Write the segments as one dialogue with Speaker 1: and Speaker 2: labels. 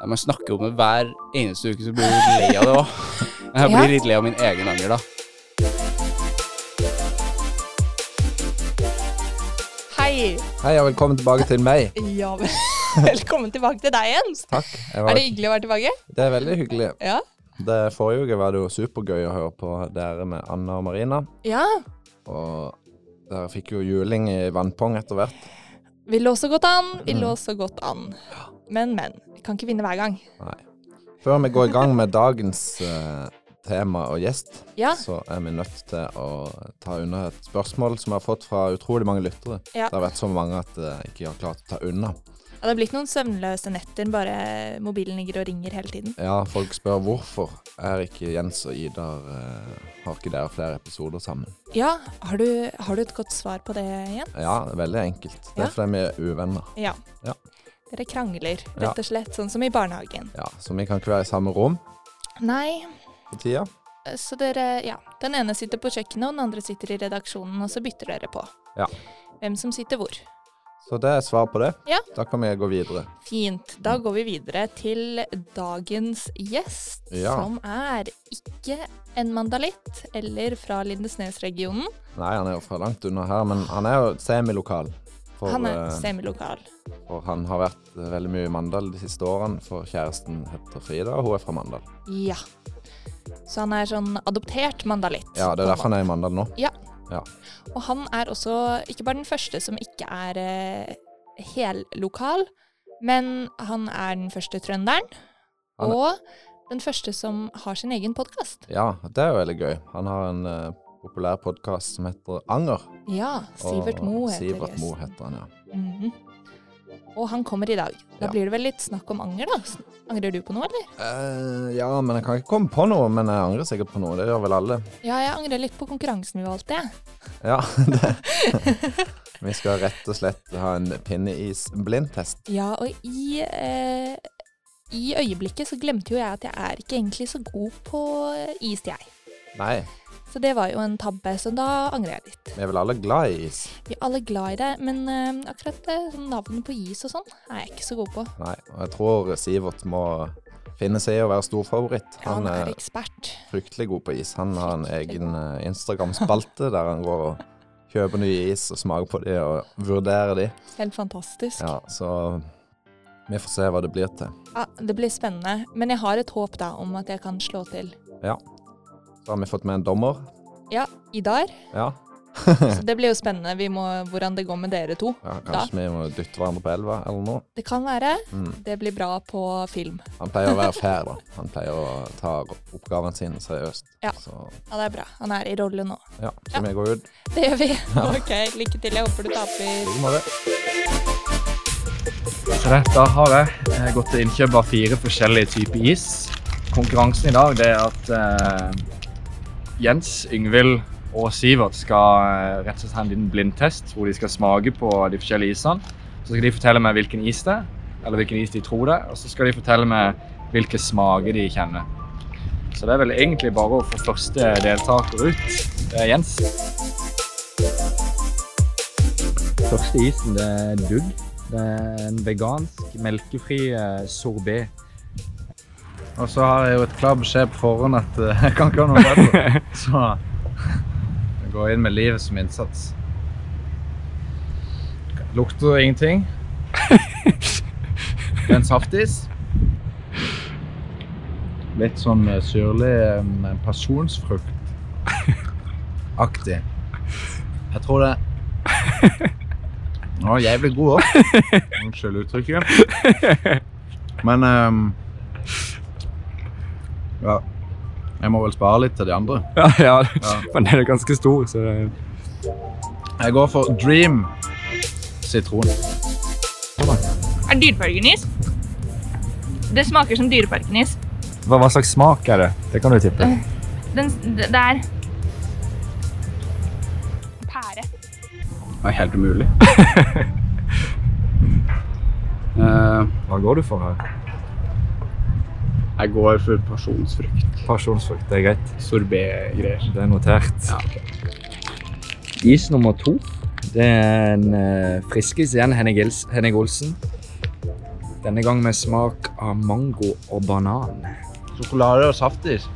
Speaker 1: Ja, man snakker om det hver eneste uke, så blir du litt lei av det òg. Jeg
Speaker 2: Ja.
Speaker 1: blir litt lei av min egen anger, da.
Speaker 2: Hei!
Speaker 3: Hei og velkommen tilbake til meg.
Speaker 2: Ja, vel- velkommen tilbake til deg, Jens.
Speaker 3: Takk. Jeg
Speaker 2: Er
Speaker 3: var,
Speaker 2: det hyggelig å være tilbake?
Speaker 3: det er veldig hyggelig.
Speaker 2: Ja.
Speaker 3: Det forrige uke var det jo supergøy å høre på dere med Anna og Marina.
Speaker 2: Ja.
Speaker 3: Og dere fikk jo juling i vannpong etter hvert.
Speaker 2: Vi lå så godt an, vi
Speaker 3: Mm.
Speaker 2: lå så godt an. Men, men. Vi kan ikke vinne hver gang.
Speaker 3: Nei. Før vi går i gang med dagens eh, tema og gjest,
Speaker 2: Ja.
Speaker 3: så er vi nødt til å ta unna et spørsmål som vi har fått fra utrolig mange lyttere.
Speaker 2: Ja.
Speaker 3: Det har vært så mange at jeg ikke har klart å ta unna.
Speaker 2: Ja, det har blitt noen søvnløse netter, bare mobilen ligger og ringer hele tiden.
Speaker 3: Ja, folk spør hvorfor er ikke Jens og Idar eh, Har ikke dere flere episoder sammen?
Speaker 2: Ja, har du, har du et godt svar på det igjen?
Speaker 3: Ja, det er veldig enkelt. Det
Speaker 2: Ja.
Speaker 3: er fordi vi er uvenner.
Speaker 2: Ja.
Speaker 3: Ja.
Speaker 2: Dere krangler,
Speaker 3: Ja.
Speaker 2: rett og slett, sånn som i barnehagen.
Speaker 3: Ja, Så vi kan ikke være i samme rom
Speaker 2: Nei,
Speaker 3: for tida.
Speaker 2: Eh, så dere, ja. Den ene sitter på kjøkkenet, og den andre sitter i redaksjonen, og så bytter dere på.
Speaker 3: Ja.
Speaker 2: Hvem som sitter hvor.
Speaker 3: Så det er svar på det.
Speaker 2: Ja.
Speaker 3: Da kan vi gå videre.
Speaker 2: Fint. Da går vi videre til dagens gjest,
Speaker 3: Ja.
Speaker 2: som er ikke en mandalitt eller fra Lindesnes-regionen.
Speaker 3: Nei, han er jo fra langt unna her, men han er jo semilokal. For
Speaker 2: Han
Speaker 3: han,
Speaker 2: er semilokal.
Speaker 3: for han har vært eh, veldig mye i Mandal de siste årene, for kjæresten heter Frida, og hun er fra Mandal.
Speaker 2: Ja. Så han er sånn adoptert mandalitt.
Speaker 3: Ja, Det er derfor han er i Mandal nå.
Speaker 2: Ja.
Speaker 3: Ja.
Speaker 2: Og han er også ikke bare den første som ikke er eh, hellokal, men han er den første trønderen.
Speaker 3: Han er-
Speaker 2: Og den første som har sin egen podkast.
Speaker 3: Ja, det er jo veldig gøy. Han har en eh, populær podkast som heter Anger.
Speaker 2: Ja,
Speaker 3: og
Speaker 2: Sivert Moe heter
Speaker 3: Sivert Moe
Speaker 2: gjesten.
Speaker 3: heter han, ja.
Speaker 2: Mhm. Og han kommer i dag. Da
Speaker 3: Ja.
Speaker 2: blir det vel litt snakk om anger, da. Sn- Angrer du på noe, eller?
Speaker 3: Eh, ja, men jeg kan ikke komme på noe. Men jeg angrer sikkert på noe. Det gjør vel alle.
Speaker 2: Ja, jeg angrer litt på konkurransen vi valgte, jeg.
Speaker 3: Ja, det. Vi skal rett og slett ha en pinneis-blindtest.
Speaker 2: Ja, og i, eh, i øyeblikket så glemte jo jeg at jeg er ikke egentlig så god på eh, is, jeg.
Speaker 3: Nei,
Speaker 2: Så det var jo en tabbe, så da angrer jeg litt.
Speaker 3: vi er vel alle glad i is?
Speaker 2: Vi er alle glad i det, men eh, akkurat eh, sånn navnet på is og sånn er jeg ikke så god på.
Speaker 3: Nei, og jeg tror Sivert må finne seg i å være storfavoritt.
Speaker 2: Ja,
Speaker 3: Han eh, er
Speaker 2: ekspert.
Speaker 3: fryktelig god på is. Han har en egen eh, Instagram-spalte der han går og kjøper ny is og smaker på de og vurderer de.
Speaker 2: Helt fantastisk.
Speaker 3: Ja, så vi får se hva det blir til.
Speaker 2: Ja, det blir spennende. Men jeg har et håp da om at jeg kan slå til.
Speaker 3: Så har vi fått med en dommer.
Speaker 2: Ja, Idar.
Speaker 3: Ja,
Speaker 2: Så det blir jo spennende vi må, hvordan det går med dere to.
Speaker 3: ja kanskje vi må dytte hverandre på elva eller noe.
Speaker 2: Det kan være.
Speaker 3: Mm.
Speaker 2: Det blir bra på film.
Speaker 3: Han pleier å være fair, da. Han pleier å ta oppgavene sine seriøst.
Speaker 2: Ja.
Speaker 3: Så,
Speaker 2: Ja, det er bra. Han er i rolle nå.
Speaker 3: ja. så vi går ut.
Speaker 2: Det gjør vi. Ok, lykke til. Jeg håper du taper.
Speaker 3: Like måte.
Speaker 4: Så det, da har jeg eh, gått til innkjøp av fire forskjellige typer is. Konkurransen i dag det er at eh, Jens, Yngvild og Sivert skal eh, rett og slett ha en liten blindtest hvor de skal smake på de forskjellige isene. Så skal de fortelle meg hvilken is det er, eller hvilken is de tror det er. Og så skal de fortelle meg hvilke smaker de kjenner. Så det er vel egentlig bare å få første deltaker ut. Det er Jens. Første isen det er dugg. Det er en vegansk, melkefri eh, sorbet.
Speaker 5: Og så har jeg jo et klar beskjed på forhånd at eh, jeg kan ikke ha noe bedre. Så jeg går inn med livet som innsats. Lukter ingenting. Det er en saftis. Litt sånn eh, syrlig eh, pasjonsfrukt-aktig. Jeg tror det Nå er jeg jævlig god òg. Unnskyld uttrykket. Men ehm, ja. Jeg må vel spare litt til de andre.
Speaker 4: Ja, ja, men den er ganske stor, så det-
Speaker 5: Jeg går for Dream sitron.
Speaker 6: er dyreparkenis. Det smaker som dyreparkenis.
Speaker 4: hva, hva slags smak er det? Det kan du tippe.
Speaker 6: Den, det det er pære.
Speaker 5: Det er helt umulig.
Speaker 7: Eh,
Speaker 4: Hva går du for her?
Speaker 7: jeg går for pasjonsfrukt.
Speaker 4: Pasjonsfrukt, det er greit.
Speaker 7: Sorbet-greier.
Speaker 4: Det er notert.
Speaker 7: Ja, ok.
Speaker 4: Is nummer to. Det er en eh, friskis igjen, Henning, Gils, Henning Olsen. Denne gang med smak av mango og banan.
Speaker 5: Sjokolade og saftis.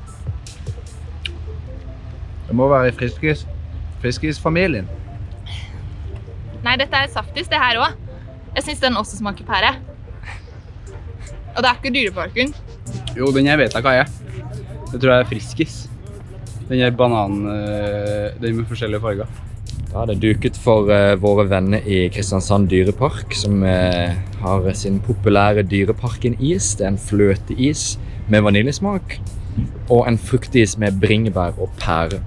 Speaker 5: Det må være i friskis. Friskisfamilien.
Speaker 6: Nei, dette er saftis, det her òg. Jeg syns den også smaker pære. Og det er ikke Dyreparken.
Speaker 7: Jo, den her vet jeg hva er. Det tror jeg er Friskis. Den her bananen eh, Den med forskjellige farger.
Speaker 4: Da er det duket for eh, våre venner i Kristiansand dyrepark, som eh, har sin populære Dyreparken-is. Det er en fløteis med vaniljesmak og en fruktis med bringebær og pære.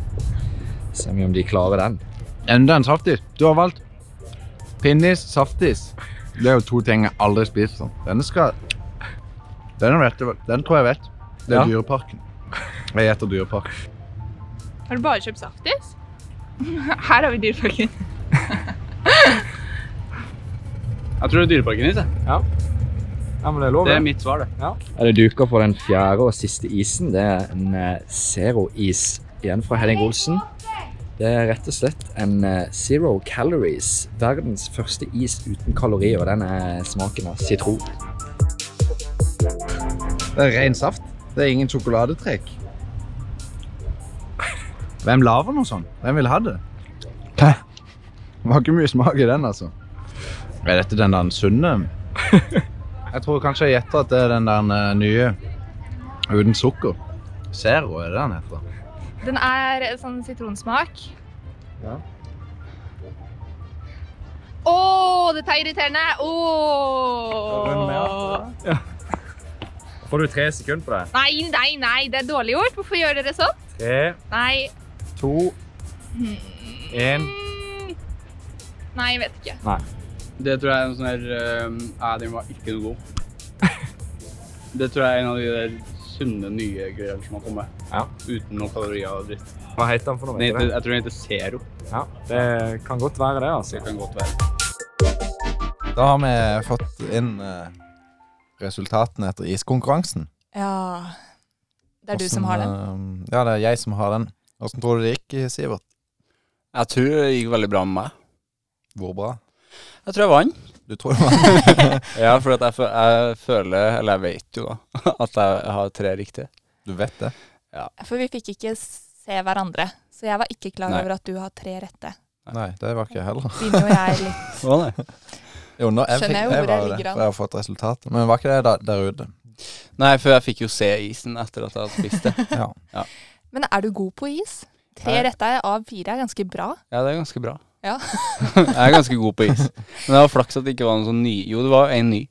Speaker 4: Se om de klarer den.
Speaker 5: Enda en saftis. Du har valgt pinnis saftis. Det er jo to ting jeg aldri spiser sånn. Denne skal Denne vet jeg vel. Den tror jeg vet. Det er
Speaker 4: Ja.
Speaker 5: Dyreparken. Jeg gjetter Dyreparken.
Speaker 6: Har du bare kjøpt saftis? Her har vi Dyreparken.
Speaker 7: Jeg tror det er Dyreparken is. jeg.
Speaker 4: Ja, men det er lov,
Speaker 7: Det er mitt svar, det.
Speaker 4: Er det duker for den fjerde og siste isen? Det er en eh, zero-is igjen fra Henning Olsen. Det er rett og slett en eh, zero calories. Verdens første is uten kalorier, og den er smaken av sitron.
Speaker 5: Det er ren saft. Det er ingen sjokoladetrekk. Hvem lager noe sånt? Hvem vil ha det? Hæ? Det var ikke mye smak i den, altså. Er dette den der sunne? Jeg tror kanskje jeg gjetter at det er den der eh, nye uten sukker. Zero er det den heter.
Speaker 6: Den er sånn sitronsmak.
Speaker 5: Ja.
Speaker 6: Å, dette er irriterende! Å!
Speaker 4: Får du tre sekunder på det?
Speaker 6: Nei, nei, nei, det er dårlig gjort. Hvorfor gjør dere sånn?
Speaker 4: Tre,
Speaker 6: Nei.
Speaker 4: to, én
Speaker 6: Mm. Nei, jeg vet ikke.
Speaker 7: Det tror jeg er en sånn her eh, Nei, den var ikke noe god. Det tror jeg er en av de der sunne, nye greiene som har kommet.
Speaker 4: Ja.
Speaker 7: Uten noen kalorier og dritt.
Speaker 4: Hva heter den for noe?
Speaker 7: Den heter, jeg tror den heter Zero.
Speaker 4: Ja, det kan godt være det, altså.
Speaker 7: Det kan godt være.
Speaker 3: Da har vi fått inn eh, resultatene etter iskonkurransen.
Speaker 2: Ja. Det er du som har den.
Speaker 3: Hvordan, eh, Ja, det er jeg som har den. Åssen tror du det gikk, Sivert?
Speaker 1: Jeg tror det gikk veldig bra med meg.
Speaker 3: Hvor bra?
Speaker 1: Jeg tror jeg vant.
Speaker 3: Du tror det var
Speaker 1: Ja, for at jeg, fø- jeg føler, eller jeg vet jo da, at jeg har tre riktige.
Speaker 3: Du vet det. eh,
Speaker 2: For vi fikk ikke se hverandre. Så jeg var ikke klar
Speaker 1: Nei.
Speaker 2: over at du har tre rette.
Speaker 3: Nei, det var ikke jeg heller.
Speaker 2: Begynner jo jeg litt
Speaker 1: Var det?
Speaker 3: Jo, nå, jeg
Speaker 2: Skjønner
Speaker 3: fikk,
Speaker 2: jeg
Speaker 3: jeg
Speaker 2: hvor jeg
Speaker 3: var jo det,
Speaker 2: ligger an.
Speaker 3: for jeg har fått resultatet. Men var ikke det da, der ute?
Speaker 1: Nei, for jeg fikk jo se isen etter at jeg hadde spist det.
Speaker 3: Ja.
Speaker 2: Men er du god på is? Tre
Speaker 1: Nei.
Speaker 2: rette av fire er ganske bra.
Speaker 1: Ja, det er ganske bra.
Speaker 2: Ja.
Speaker 1: jeg er ganske god på is. Men det var flaks at det ikke var noen sånn ny Jo, det var en ny.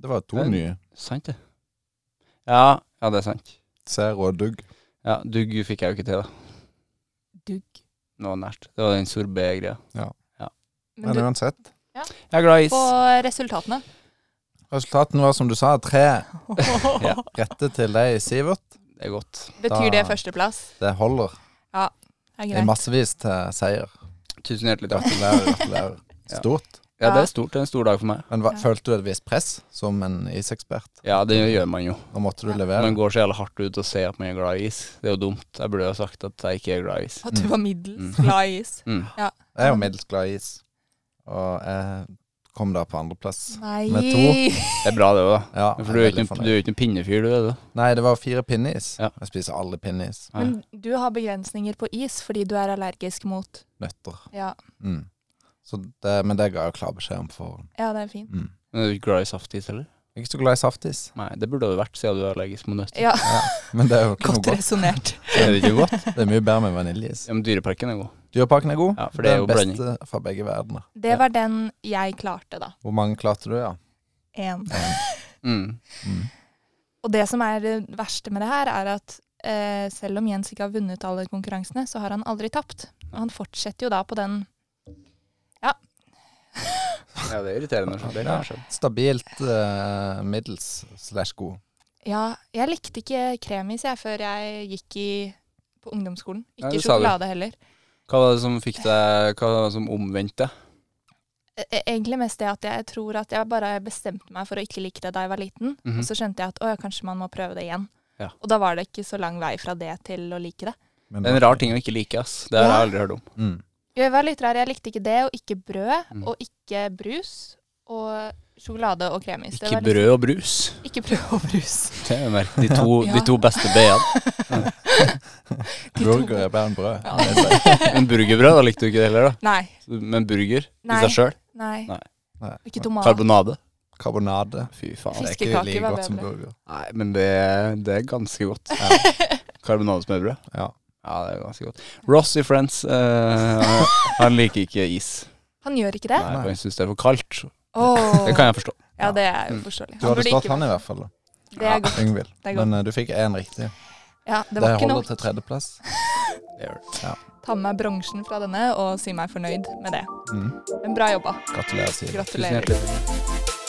Speaker 3: Det var to
Speaker 1: Nei.
Speaker 3: nye.
Speaker 1: Sant det. Ja, ja, det er sant.
Speaker 3: Zero og Dugg.
Speaker 1: Ja, Dugg fikk jeg jo ikke til, da.
Speaker 2: Dugg.
Speaker 1: Det var nært. Det var den sorbet-greia.
Speaker 3: Men
Speaker 2: Men du,
Speaker 3: uansett.
Speaker 1: Jeg er glad i is.
Speaker 2: på resultatene
Speaker 3: Resultatene var som du sa, tre
Speaker 1: Ja.
Speaker 3: rette til deg, Sivert.
Speaker 1: Det er godt.
Speaker 2: Betyr det
Speaker 3: Da-
Speaker 2: førsteplass?
Speaker 3: Det holder
Speaker 2: Er
Speaker 3: i
Speaker 2: greit.
Speaker 3: massevis til seier.
Speaker 1: Tusen hjertelig takk.
Speaker 3: Gratulerer, gratulerer.
Speaker 1: Ja.
Speaker 3: Stort.
Speaker 1: Ja, det
Speaker 2: Ja.
Speaker 1: er stort. Det er en stor dag for meg.
Speaker 3: Men hva,
Speaker 2: Ja.
Speaker 3: følte du et visst press som en isekspert?
Speaker 1: Ja, det gjør man jo.
Speaker 3: Nå måtte du
Speaker 2: Ja.
Speaker 3: levere.
Speaker 1: Man går så jævlig hardt ut og sier at man er glad i is. Det er jo dumt. Jeg burde jo ha sagt at jeg ikke er glad i is.
Speaker 2: At du var middels glad i is?
Speaker 1: Mm.
Speaker 3: Jeg er jo middels glad i is. Og jeg kom der på andreplass.
Speaker 2: Nei!
Speaker 3: Med to.
Speaker 1: Det er bra, det òg, da.
Speaker 3: Ja,
Speaker 1: For
Speaker 3: jeg
Speaker 1: du er jo
Speaker 3: veldig
Speaker 1: ikke noen-
Speaker 3: fornøyd.
Speaker 1: du er jo ikke noen pinnefyr, du. er det?
Speaker 3: Nei, det var fire pinneis.
Speaker 1: Ja.
Speaker 3: Jeg spiser alle pinneis.
Speaker 1: Nei.
Speaker 2: Men du har begrensninger på is fordi du er allergisk mot
Speaker 3: Nøtter.
Speaker 2: Ja,
Speaker 3: Mm. Så det, men det ga jeg jo klar beskjed om for
Speaker 2: ja det er fint.
Speaker 3: mm.
Speaker 1: Men er du ikke glad i saftis heller?
Speaker 3: Jeg er ikke så glad i saftis,
Speaker 1: Nei, det burde du vært, siden du er allergisk mot nøtter.
Speaker 2: Ja,
Speaker 3: men det er jo
Speaker 2: Godt
Speaker 3: ikke noe godt.
Speaker 2: resonnert.
Speaker 3: Er det ikke godt? Det er mye bedre med vaniljeis.
Speaker 1: Ja, men Dyreparken er god.
Speaker 3: Dyreparken er god.
Speaker 1: Ja, for det er jo
Speaker 3: den
Speaker 1: blanding.
Speaker 3: beste fra begge verdener.
Speaker 2: Det var den jeg klarte, da.
Speaker 3: Hvor mange klarte du, ja?
Speaker 2: Én.
Speaker 1: Mm.
Speaker 3: Mm.
Speaker 2: Og det som er det verste med det her, er at eh, selv om Jens ikke har vunnet alle konkurransene, så har han aldri tapt. Og han fortsetter jo da på den
Speaker 1: Ja, det er irriterende. sånn. Det kan jeg skjønne.
Speaker 3: Stabilt eh, middels slash god.
Speaker 2: Ja, jeg likte ikke kremis jeg før jeg gikk i, på ungdomsskolen.
Speaker 1: Nei,
Speaker 2: Ikke
Speaker 1: det sa du.
Speaker 2: sjokolade heller.
Speaker 1: Hva var det som fikk deg Hva var det som omvendte?
Speaker 2: E- e- Egentlig mest det at jeg tror at jeg bare bestemte meg for å ikke like det da jeg var liten.
Speaker 1: Mhm.
Speaker 2: Og så skjønte jeg at å ja, kanskje man må prøve det igjen.
Speaker 1: Ja.
Speaker 2: Og da var det ikke så lang vei fra det til å like det.
Speaker 3: Men
Speaker 1: Det er en rar ting å ikke like, ass. Det har jeg aldri hørt om.
Speaker 3: Mm.
Speaker 1: Mhm.
Speaker 2: Jeg var litt rar, jeg likte ikke det, og ikke brød,
Speaker 1: Mm.
Speaker 2: og ikke brus. Og sjokolade og kremis. Det
Speaker 1: Ikke
Speaker 2: var liksom-
Speaker 1: brød og brus.
Speaker 2: Ikke brød og brus.
Speaker 1: Det er jo mer de to,
Speaker 2: Ja.
Speaker 1: de to beste B-ene.
Speaker 3: Burger er bedre enn brød.
Speaker 2: Ja.
Speaker 3: det er det.
Speaker 1: Men burgerbrød, da likte du ikke det heller, da.
Speaker 2: Nei.
Speaker 1: Men burger i
Speaker 2: Nei.
Speaker 1: seg sjøl.
Speaker 2: Nei.
Speaker 1: Nei.
Speaker 3: Nei.
Speaker 2: Ikke tomat.
Speaker 1: Karbonade.
Speaker 3: Karbonade.
Speaker 1: Fy faen.
Speaker 3: Det er ikke
Speaker 2: Fiskekaker
Speaker 3: like
Speaker 2: var
Speaker 3: godt som
Speaker 2: bedre.
Speaker 3: burger.
Speaker 1: Nei, men det, det er ganske godt. Karbonade og smørbrød.
Speaker 3: Ja.
Speaker 1: ja, det er ganske godt. Ross i Friends, eh, han liker ikke is.
Speaker 2: Han gjør ikke det?
Speaker 1: Nei, for Han syns det er for kaldt.
Speaker 2: Åh.
Speaker 1: Det kan jeg Mm. forstå.
Speaker 2: Ja, det er jo forståelig.
Speaker 3: Du hadde
Speaker 2: burde
Speaker 3: slått
Speaker 2: ikke
Speaker 3: han i
Speaker 2: vært-
Speaker 3: hvert fall, da.
Speaker 2: Det er godt.
Speaker 3: Yngvild.
Speaker 2: Det er godt.
Speaker 3: Men eh, du fikk én riktig.
Speaker 2: Ja, det
Speaker 3: Det,
Speaker 2: var ikke
Speaker 3: holder
Speaker 2: nok.
Speaker 3: til tredjeplass.
Speaker 2: Ta med meg bronsen fra denne og si meg fornøyd med det.
Speaker 3: Mm.
Speaker 2: Men bra jobba.
Speaker 3: Gratulerer, Siv.
Speaker 2: Gratulerer.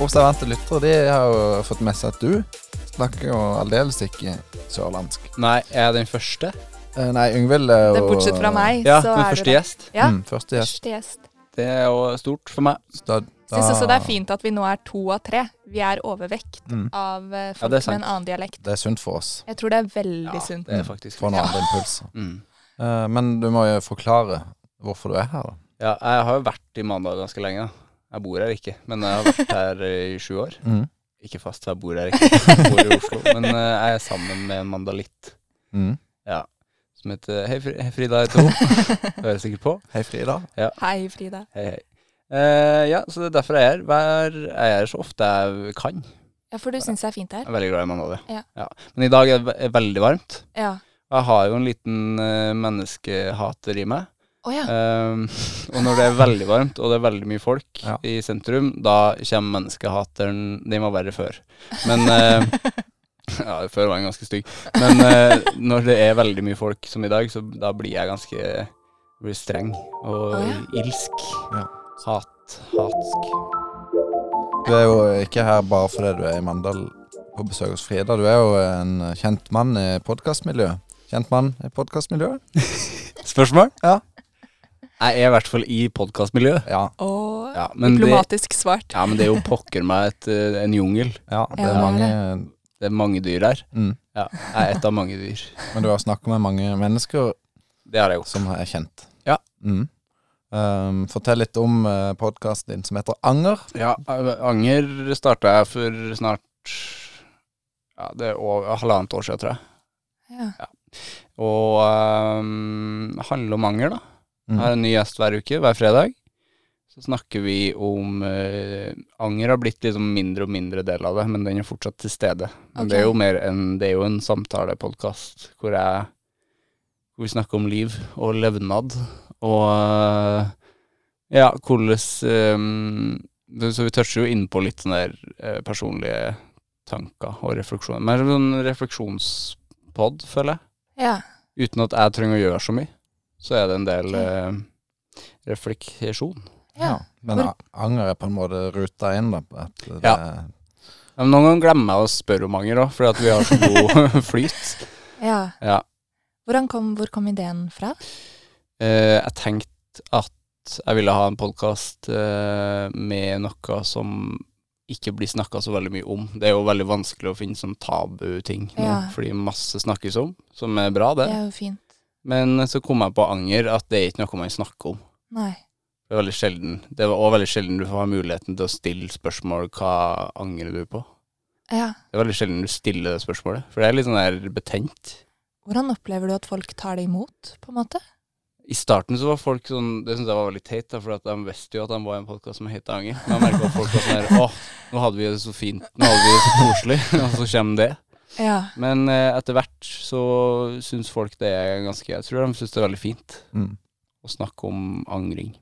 Speaker 3: Observante lyttere de har jo fått med seg at du snakker jo aldeles ikke sørlandsk.
Speaker 1: Nei, jeg er den første.
Speaker 3: Eh, Nei, Yngvild er jo
Speaker 2: Det er bortsett fra meg,
Speaker 1: Ja,
Speaker 2: så
Speaker 1: men
Speaker 2: er det
Speaker 1: første gjest.
Speaker 2: Ja,
Speaker 3: Mm, første gjest.
Speaker 2: første gjest.
Speaker 1: Det er jo stort for meg.
Speaker 3: Da,
Speaker 2: Syns også det er fint at vi nå er to av tre. Vi er overvekt
Speaker 3: Mm.
Speaker 2: av eh,
Speaker 1: Ja,
Speaker 2: folk
Speaker 1: det er
Speaker 2: med
Speaker 1: sant.
Speaker 2: en annen dialekt.
Speaker 3: Det er sunt for oss.
Speaker 2: Jeg tror det er veldig sunt.
Speaker 1: det er faktisk
Speaker 3: Få noen
Speaker 1: litt-
Speaker 3: andre impulser.
Speaker 1: Mm.
Speaker 3: Eh, Men du må jo forklare hvorfor du er her, da.
Speaker 1: Ja, jeg har jo vært i Mandal ganske lenge. da. Jeg bor her ikke, men jeg har vært her i sju år.
Speaker 3: Mm.
Speaker 1: Ikke fast, jeg bor her ikke. Jeg bor i Oslo. Men eh, jeg er sammen med en mandalitt
Speaker 3: Mm.
Speaker 1: som heter Hei, Fri- hei, Frida heter hun. Hører sikkert på.
Speaker 3: Hei, Frida.
Speaker 2: Hei, Frida.
Speaker 1: Hei, hei. Eh, ja, så det er derfor jeg er her. Hver, jeg er her så ofte jeg kan.
Speaker 2: Ja, for du syns det er fint her?
Speaker 1: Jeg er veldig glad i Mandal,
Speaker 2: Ja.
Speaker 1: Men i dag er det ve- veldig varmt.
Speaker 2: Ja.
Speaker 1: Jeg har jo en liten eh, menneskehater i meg.
Speaker 2: Å ja.
Speaker 1: Ehm, og når det er veldig varmt, og det er veldig mye folk
Speaker 3: Ja.
Speaker 1: i sentrum, da kommer menneskehateren Den var verre før. Men eh, Ja, før var den ganske stygg. Men eh, når det er veldig mye folk, som i dag, så da blir jeg ganske blir streng og
Speaker 2: Å,
Speaker 1: ilsk.
Speaker 3: Ja.
Speaker 1: Hat, hatsk.
Speaker 3: Du er jo ikke her bare fordi du er i Mandal på besøk hos Frida. Du er jo en kjent mann i podkastmiljøet. Kjent mann i podkastmiljøet?
Speaker 1: Spørsmål?
Speaker 3: Ja.
Speaker 1: Jeg er i hvert fall i podkastmiljøet.
Speaker 3: Ja.
Speaker 2: Å,
Speaker 1: Ja, men det,
Speaker 2: diplomatisk svart.
Speaker 1: ja, men det er jo pokker meg et, eh, en jungel.
Speaker 3: ja.
Speaker 2: Ja,
Speaker 3: Det er
Speaker 2: det er
Speaker 3: mange
Speaker 1: Det er mange dyr her.
Speaker 3: mm.
Speaker 1: Ja, jeg er et av mange dyr.
Speaker 3: Men du har snakka med mange mennesker
Speaker 1: Det har jeg gjort.
Speaker 3: som er kjent.
Speaker 1: Ja.
Speaker 3: Mm. Um, fortell litt om uh, podkasten din som heter Anger.
Speaker 1: Ja, Anger starta jeg for snart ja, det er over, halvannet år siden, tror jeg.
Speaker 2: Ja.
Speaker 1: Og ehm, handler om anger, da.
Speaker 3: Mm.
Speaker 1: Jeg har en ny gjest hver uke, hver fredag. Så snakker vi om eh, Anger har blitt liksom mindre og mindre del av det, men den er fortsatt til stede. Men det er jo
Speaker 2: Ok.
Speaker 1: mer en, det er jo en samtalepodkast hvor jeg hvor vi snakker om liv og levnad og eh, ja, hvordan ehm, det- Så vi toucher jo innpå litt sånne der, eh, personlige tanker og refleksjoner. Mer som en sånn refleksjonspod, føler jeg
Speaker 2: Ja.
Speaker 1: uten at jeg trenger å gjøre så mye, så er det en del eh, refleksjon.
Speaker 2: Ja.
Speaker 3: Men a- Anger er på en måte ruta inn, da. på At det,
Speaker 1: Ja. Men noen ganger glemmer jeg å spørre om anger òg, fordi at vi har så god flyt.
Speaker 2: ja.
Speaker 1: Ja.
Speaker 2: Hvordan kom, hvor kom ideen fra?
Speaker 1: Eh, jeg tenkte at jeg ville ha en podkast med noe som ikke blir snakka så veldig mye om. Det er jo veldig vanskelig å finne sånn tabu-ting nå,
Speaker 2: Ja.
Speaker 1: fordi masse snakkes om, som er bra, det.
Speaker 2: Det er jo fint.
Speaker 1: Men så kom jeg på anger, at det er ikke noe man snakker om.
Speaker 2: Nei.
Speaker 1: Det er veldig sjelden. Det er også veldig sjelden du får muligheten til å stille spørsmål hva angrer du på.
Speaker 2: Ja.
Speaker 1: Det er veldig sjelden du stiller det spørsmålet, for det er litt sånn der betent.
Speaker 2: Hvordan opplever du at folk tar det imot, på en måte?
Speaker 1: I starten så var folk sånn Det syns jeg var veldig teit, da, for at de visste jo at de var i en podkast som het Anger. Men jeg merka at folk var sånn her Å, nå hadde vi det så fint. Nå hadde vi det så koselig. Og så kommer det.
Speaker 2: Ja.
Speaker 1: Men eh, etter hvert så syns folk det er ganske Jeg tror de syns det er veldig fint
Speaker 3: Mm.
Speaker 1: å snakke om angring.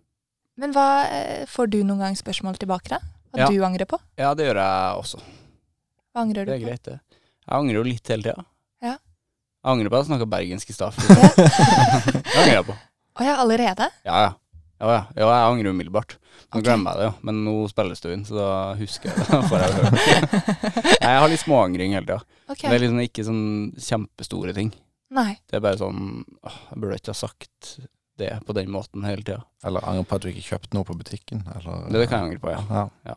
Speaker 2: Men hva eh, får du noen gang spørsmål tilbake da? Hva
Speaker 1: Ja.
Speaker 2: du angrer på?
Speaker 1: Ja, det gjør jeg også.
Speaker 2: Hva angrer du
Speaker 1: Det er
Speaker 2: på?
Speaker 1: greit, det. Jeg angrer jo litt hele tida.
Speaker 2: Ja.
Speaker 1: Jeg angrer på at jeg snakka bergensk i stad. for
Speaker 2: Ja.
Speaker 1: Det angrer jeg på.
Speaker 2: Å ja, allerede?
Speaker 1: Ja, ja. Ja, ja. ja jeg angrer umiddelbart. Nå
Speaker 2: Ok.
Speaker 1: glemmer jeg det, jo. Men nå spilles det jo inn, så da husker jeg det. Får jeg, høre. Nei, jeg har litt småangring hele tida.
Speaker 2: Ok.
Speaker 1: Det er liksom ikke sånn kjempestore ting.
Speaker 2: Nei.
Speaker 1: Det er bare sånn åh, Jeg burde ikke ha sagt det på den måten hele tida.
Speaker 3: Eller angrer på at du ikke kjøpte noe på butikken. Eller,
Speaker 1: Det, det kan jeg angre på, ja.
Speaker 3: Ja.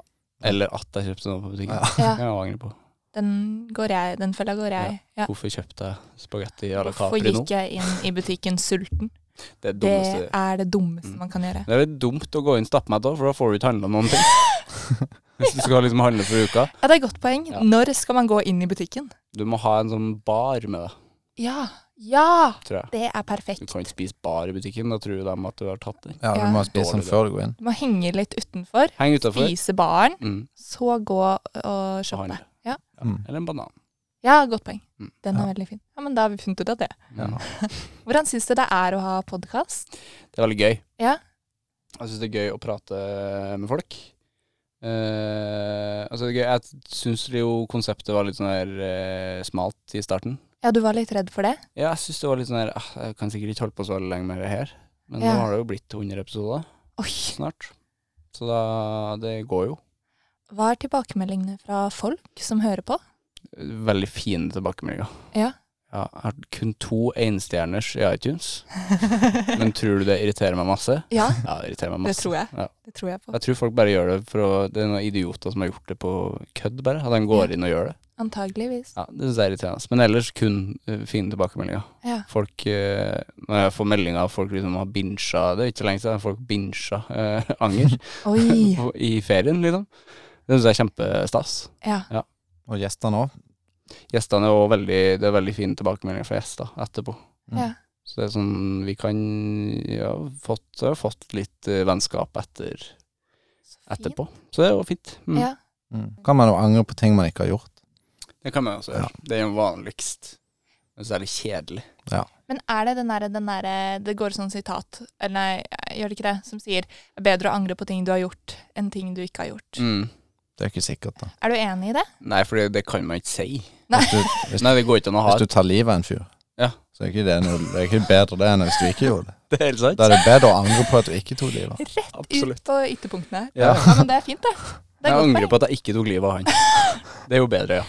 Speaker 1: Eller at jeg kjøpte noe på butikken.
Speaker 3: Ja.
Speaker 1: Det
Speaker 2: Ja,
Speaker 1: kan jeg også angre på.
Speaker 2: den går jeg, den følga går jeg. Ja.
Speaker 1: Hvorfor kjøpte jeg spagetti à la
Speaker 2: Hvorfor
Speaker 1: Capri nå?
Speaker 2: gikk jeg inn i butikken sulten?
Speaker 1: Det er det
Speaker 2: Det
Speaker 1: dummeste. Mm.
Speaker 2: er det dummeste man kan gjøre.
Speaker 1: Det er litt dumt å gå inn stappmett òg, for da får du ikke handla noen ting. Hvis du skal liksom handle for uka.
Speaker 2: Ja, det er et godt poeng.
Speaker 1: Ja.
Speaker 2: Når skal man gå inn i butikken?
Speaker 1: Du må ha en sånn bar med deg,
Speaker 2: Ja, ja!
Speaker 1: tror jeg.
Speaker 2: Det er
Speaker 1: Du
Speaker 2: perfekt.
Speaker 1: kan ikke spise bar i butikken, da tror de at du har tatt den.
Speaker 3: Ja, du
Speaker 2: Ja.
Speaker 3: må spise den
Speaker 1: Dårlig,
Speaker 3: før du går inn.
Speaker 2: Du må henge litt utenfor,
Speaker 1: Heng utafor.
Speaker 2: spise baren,
Speaker 1: Mm,
Speaker 2: så gå og
Speaker 1: og
Speaker 2: shoppe.
Speaker 1: handle.
Speaker 2: Ja.
Speaker 3: Mm.
Speaker 1: Eller en banan.
Speaker 2: Ja, godt poeng.
Speaker 1: Mm.
Speaker 2: Den er veldig fin. Ja, men da har vi funnet ut av det.
Speaker 1: Ja.
Speaker 3: Mm.
Speaker 2: Hvordan syns du det er å ha podkast?
Speaker 1: Det er veldig gøy.
Speaker 2: Ja.
Speaker 1: Jeg syns det er gøy å prate med folk. Eh, altså det er gøy. Jeg syns jo konseptet var litt sånn her eh, smalt i starten.
Speaker 2: Ja, du var litt redd for det?
Speaker 1: Ja, jeg syns det var litt sånn her ah, Jeg kan sikkert ikke holde på så veldig lenge med det her, men
Speaker 2: Ja.
Speaker 1: nå har det jo blitt 100 episoder
Speaker 2: Oi!
Speaker 1: snart. Så da Det går jo.
Speaker 2: Hva er tilbakemeldingene fra folk som hører på?
Speaker 1: Veldig fine tilbakemeldinger.
Speaker 2: Ja.
Speaker 1: Ja, jeg har kun to enstjerners i iTunes, men tror du det irriterer meg masse?
Speaker 2: ja,
Speaker 1: Ja, det irriterer meg
Speaker 2: det
Speaker 1: masse.
Speaker 2: tror jeg.
Speaker 1: Ja.
Speaker 2: Det tror jeg på.
Speaker 1: Jeg tror folk bare gjør det for å Det er noen idioter som har gjort det på kødd, bare. At de går inn og gjør det.
Speaker 2: Antageligvis.
Speaker 1: Ja, Det syns jeg er irriterende. Men ellers kun eh, fine tilbakemeldinger.
Speaker 2: Ja.
Speaker 1: Folk eh, Når jeg får meldinger av folk liksom har binsja Det er ikke så lenge siden folk binsja eh, anger
Speaker 2: Oi!
Speaker 1: på- i ferien, liksom. Det syns jeg er kjempestas.
Speaker 2: Ja.
Speaker 3: Og gjestene òg.
Speaker 1: Gjestene er også veldig Det er veldig fine tilbakemeldinger fra gjester etterpå.
Speaker 2: Ja.
Speaker 1: Så det er sånn Vi kan Ja, fått, jeg har fått litt eh, vennskap etter,
Speaker 2: Så fint.
Speaker 1: etterpå. Så det er jo fint. Mm.
Speaker 2: Ja.
Speaker 3: Kan man jo angre på ting man ikke har gjort.
Speaker 1: Det kan man også gjøre. Det er jo vanligst. Men så er det kjedelig.
Speaker 2: Men er det den derre den derre- Det går sånn sitat, eller nei, gjør det ikke det, som sier «Det er 'bedre å angre på ting du har gjort, enn ting du ikke har gjort'.
Speaker 1: Mm.
Speaker 3: Det er jo ikke sikkert, da.
Speaker 2: Er du enig i det?
Speaker 1: Nei, for det, det kan man ikke si.
Speaker 3: Hvis du, hvis,
Speaker 1: Nei, det går ikke an å ha
Speaker 3: hvis du tar livet av en fyr,
Speaker 1: Ja.
Speaker 3: så er ikke det, noe, det er ikke bedre det enn hvis du ikke gjorde det.
Speaker 1: Det er helt sant.
Speaker 3: Da er det bedre å angre på at du ikke tok livet.
Speaker 2: Rett
Speaker 1: Absolutt.
Speaker 2: ut på ytterpunktene her.
Speaker 1: Ja.
Speaker 2: Ja, men det er fint, det. Det er,
Speaker 1: Jeg
Speaker 2: godt
Speaker 1: angrer
Speaker 2: poeng.
Speaker 1: på at jeg ikke tok livet av han. Det er jo bedre, ja.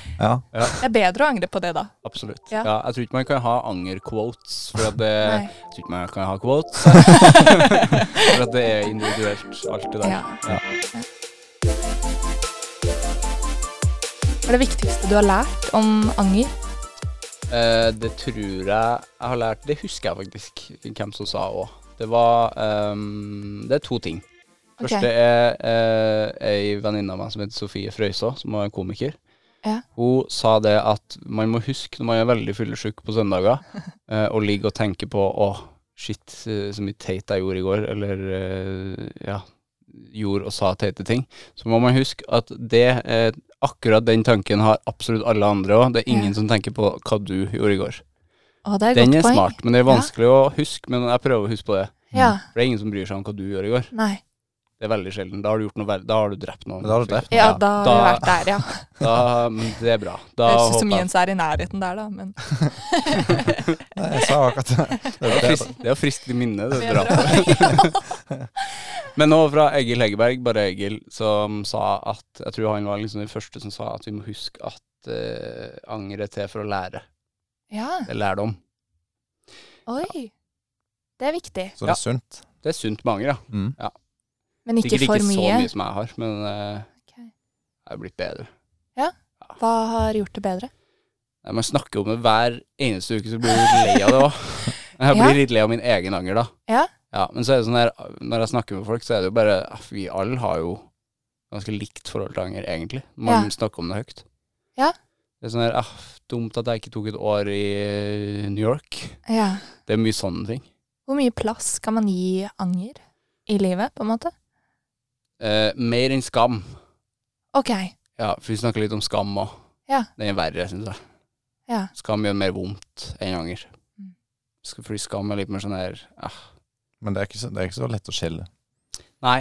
Speaker 3: Ja.
Speaker 2: det er bedre å angre på det, da.
Speaker 1: Absolutt. Ja.
Speaker 2: Ja.
Speaker 1: jeg tror ikke man kan ha anger-quotes, for at det
Speaker 2: Nei.
Speaker 1: Jeg tror ikke man kan ha quotes. for at det er individuelt, alt det der.
Speaker 2: Ja. Hva er det viktigste du har lært om anger?
Speaker 1: Eh, det tror jeg jeg har lært Det husker jeg faktisk hvem som sa òg. Det var ehm, Det er to ting.
Speaker 2: Ok.
Speaker 1: Første er eh, ei venninne av meg som heter Sofie Frøysaa, som er komiker.
Speaker 2: Ja.
Speaker 1: Hun sa det at man må huske når man er veldig fyllesyk på søndager, eh, og ligger og tenker på å, shit, eh, så mye teit jeg gjorde i går, eller eh, ja, gjorde og sa teite ting, så må man huske at det eh, akkurat den tanken har absolutt alle andre òg. Det er ingen
Speaker 2: Ja.
Speaker 1: som tenker på hva du gjorde i går.
Speaker 2: Å, det er et
Speaker 1: Den er
Speaker 2: godt poeng.
Speaker 1: smart, Mm. men det er
Speaker 2: Ja.
Speaker 1: vanskelig å huske. Men jeg prøver å huske på det.
Speaker 2: Ja.
Speaker 1: For det er ingen som bryr seg om hva du gjør i går.
Speaker 2: Nei.
Speaker 1: Det er veldig sjelden. Da har du gjort noe verre. Da har du drept noen.
Speaker 3: Men da har du drept
Speaker 2: Ja, da har vi
Speaker 1: Da-
Speaker 2: vært der, ja.
Speaker 1: Da, men det er bra. Da
Speaker 2: Det høres ut
Speaker 1: håper
Speaker 2: som
Speaker 1: jeg
Speaker 2: Jens er i nærheten der, da, men
Speaker 3: Nei, jeg sa akkurat det. Det
Speaker 1: Det
Speaker 3: er
Speaker 1: er
Speaker 3: bedre.
Speaker 1: frist- det er friskt i minne, det
Speaker 2: Bedre.
Speaker 1: drapet. Men nå fra Egil Hegerberg, bare Egil, som sa at Jeg tror han var liksom den første som sa at vi må huske at eh, anger er til for å lære.
Speaker 2: Ja.
Speaker 1: Det er lærdom.
Speaker 2: Oi. Det er viktig.
Speaker 3: Så det er sunt.
Speaker 1: Det er sunt med anger, ja.
Speaker 3: Mm.
Speaker 2: Men ikke
Speaker 1: Sikkert
Speaker 2: for
Speaker 1: ikke så
Speaker 2: mye.
Speaker 1: mye som jeg har, men eh,
Speaker 2: Ok.
Speaker 1: jeg er blitt bedre.
Speaker 2: Hva har gjort det bedre?
Speaker 1: Nei, Man snakker om det hver eneste uke, så blir du litt lei av det òg. Jeg blir
Speaker 2: Ja.
Speaker 1: litt lei av min egen anger, da.
Speaker 2: Ja.
Speaker 1: Men så er det sånn her, når jeg snakker med folk, så er det jo bare eh, Vi alle har jo ganske likt forhold til anger, egentlig. når Man
Speaker 2: Ja.
Speaker 1: snakker om det høyt.
Speaker 2: Ja.
Speaker 1: Det er sånn her ah, Dumt at jeg ikke tok et år i eh, New York.
Speaker 2: Ja.
Speaker 1: Det er mye sånne ting.
Speaker 2: Hvor mye plass kan man gi anger i livet, på en måte?
Speaker 1: Eh, mer enn skam.
Speaker 2: Ok.
Speaker 1: Ja, for vi snakker litt om skam òg.
Speaker 2: Ja.
Speaker 1: Den er verre, syns jeg.
Speaker 2: Ja.
Speaker 1: Skam gjør mer vondt enn anger.
Speaker 2: Mm.
Speaker 1: Sk- Fordi skam er litt mer sånn her ah,
Speaker 3: Men det er, ikke så, det er ikke så lett å skille.
Speaker 1: Nei,